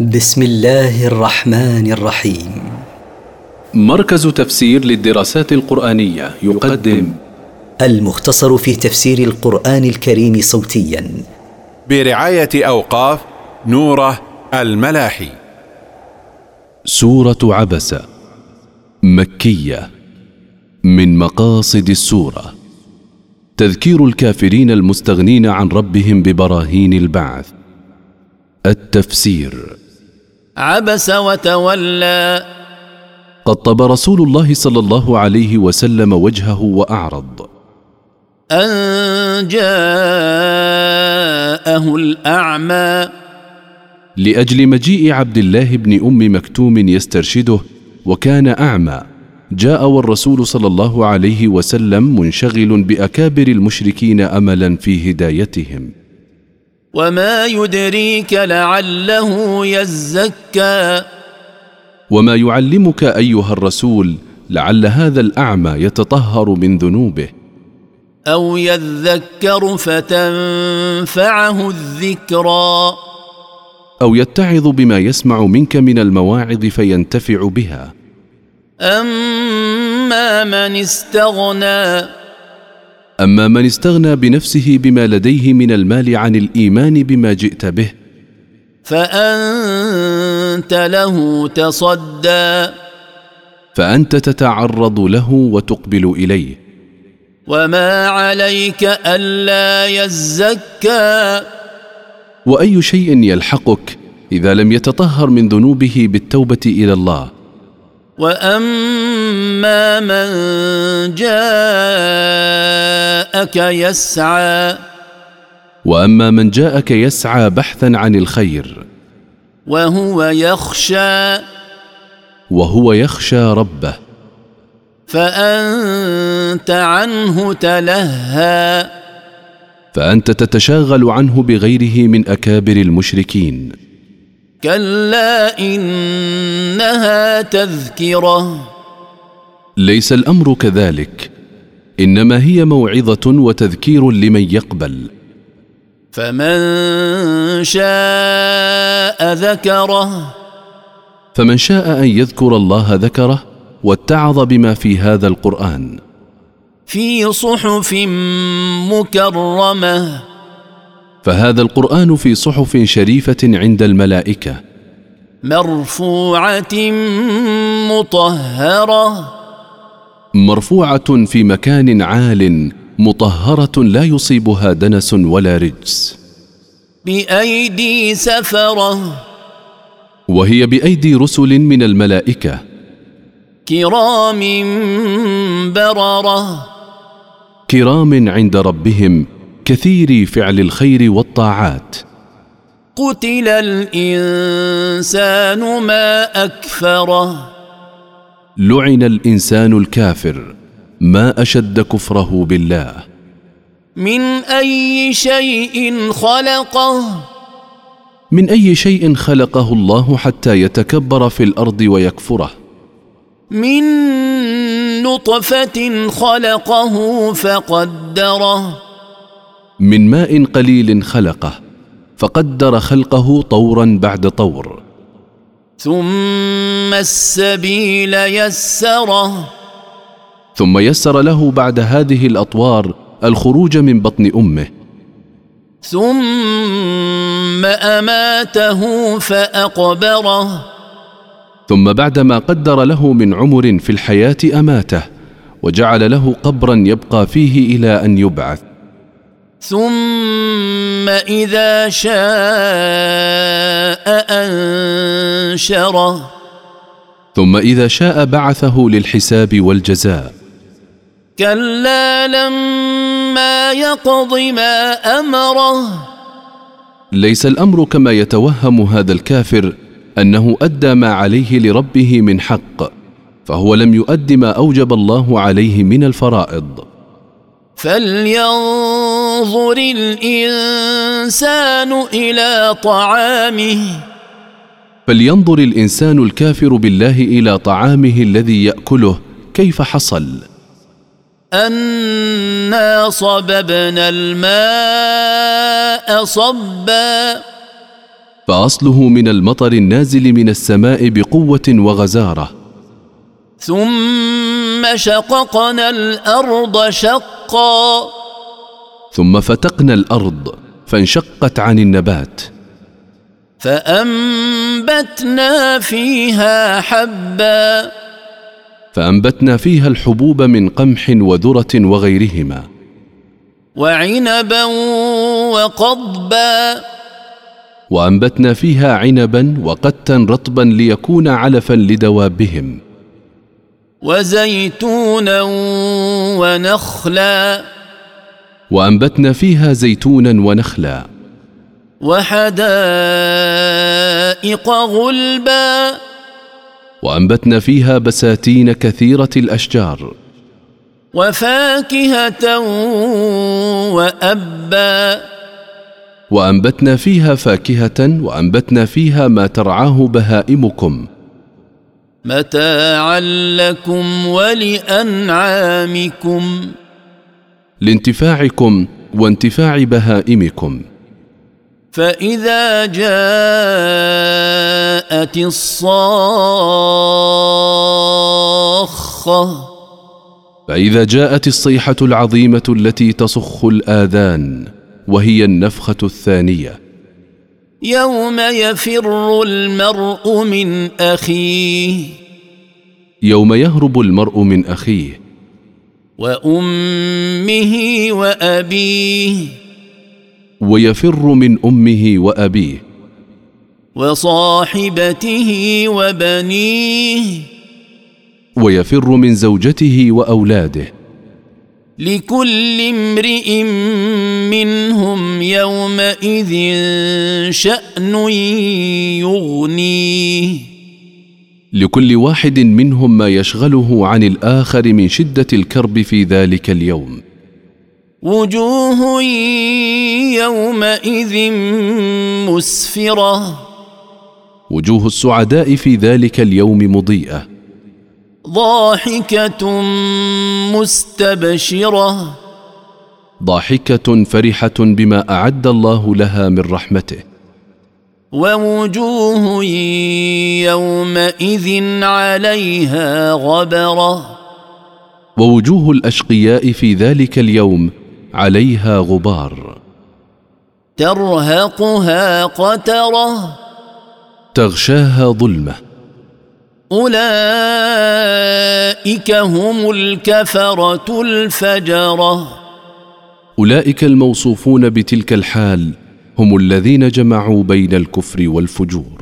بسم الله الرحمن الرحيم مركز تفسير للدراسات القرآنية يقدم المختصر في تفسير القرآن الكريم صوتيا برعاية أوقاف نوره الملاحي سورة عبس مكية من مقاصد السورة تذكير الكافرين المستغنين عن ربهم ببراهين البعث التفسير عبس وتولى قد طب رسول الله صلى الله عليه وسلم وجهه وأعرض أن جاءه الأعمى لأجل مجيء عبد الله بن أم مكتوم يسترشده وكان أعمى جاء والرسول صلى الله عليه وسلم منشغل بأكابر المشركين أملا في هدايتهم وما يدريك لعله يزكى وما يعلمك أيها الرسول لعل هذا الأعمى يتطهر من ذنوبه أو يذكر فتنفعه الذكرى أو يتعظ بما يسمع منك من المواعظ فينتفع بها أما من استغنى أما من استغنى بنفسه بما لديه من المال عن الإيمان بما جئت به فأنت له تصدى فأنت تتعرض له وتقبل إليه وما عليك ألا يزكى وأي شيء يلحقك إذا لم يتطهر من ذنوبه بالتوبة إلى الله واما من جاءك يسعى وأما من جاءك يسعى بحثا عن الخير وهو يخشى وهو يخشى ربه فانت عنه تلهى فأنت تتشاغل عنه بغيره من أكابر المشركين كلا انها تذكره ليس الأمر كذلك إنما هي موعظة وتذكير لمن يقبل فمن شاء ذكره فمن شاء أن يذكر الله ذكره واتعظ بما في هذا القرآن في صحف مكرمه فهذا القرآن في صحف شريفة عند الملائكة مرفوعه مطهره مرفوعة في مكان عال مطهرة لا يصيبها دنس ولا رجس بايدي سفره وهي بأيدي رسل من الملائكة كرام برره كرام عند ربهم كثير فعل الخير والطاعات قتل الانسان ما اكفره لعن الإنسان الكافر ما أشد كفره بالله من اي شيء خلقه من أي شيء خلقه الله حتى يتكبر في الأرض ويكفره من نطفه خلقه فقدره من ماء قليل خلقه فقدر خلقه طورا بعد طور ثم السبيل يسره ثم يسر له بعد هذه الأطوار الخروج من بطن أمه ثم اماته فاقبره ثم بعدما قدر له من عمر في الحياة أماته وجعل له قبرا يبقى فيه إلى أن يبعث ثم اذا شاء انشره ثم إذا شاء بعثه للحساب والجزاء كلا لما يقض ما امره ليس الأمر كما يتوهم هذا الكافر أنه أدى ما عليه لربه من حق فهو لم يؤد ما أوجب الله عليه من الفرائض فلينظر الانسان الى طعامه فلينظر الإنسان الكافر بالله إلى طعامه الذي يأكله كيف حصل انا صببنا الماء صبا فاصله من المطر النازل من السماء بقوه وغزاره ثم شققنا الارض شقا ثم فتقنا الارض فانشقت عن النبات فانبتنا فيها حبا فانبتنا فيها الحبوب من قمح وذره وغيرهما وعنبا وقضبا وانبتنا فيها عنبا وقتا رطبا ليكون علفا لدوابهم وزيتونا ونخلا وانبتنا فيها زيتونا ونخلا وحدائق غلبا وانبتنا فيها بساتين كثيره الاشجار وفاكهه وابا وانبتنا فيها فاكهه وانبتنا فيها ما ترعاه بهائمكم متاعا لكم ولانعامكم لانتفاعكم وانتفاع بهائمكم فاذا جاءت الصاخه فاذا جاءت الصيحه العظيمه التي تصخ الاذان وهي النفخه الثانيه يوم يفر المرء من اخيه يوم يهرب المرء من اخيه وامه وابيه ويفر من امه وابيه وصاحبته وبنيه ويفر من زوجته واولاده لكل امرئ منهم يومئذ شان يغنيه لكل واحد منهم ما يشغله عن الاخر من شده الكرب في ذلك اليوم وجوه يومئذ مسفره وجوه السعداء في ذلك اليوم مضيئه ضاحكة مستبشرة ضاحكه فرحه بما اعد الله لها من رحمته ووجوه يومئذ عليها غبرة ووجوه الاشقياء في ذلك اليوم عليها غبار ترهقها قترة تغشاها ظلمه أولئك هم الكفرة الفجرة اولئك الموصوفون بتلك الحال هم الذين جمعوا بين الكفر والفجور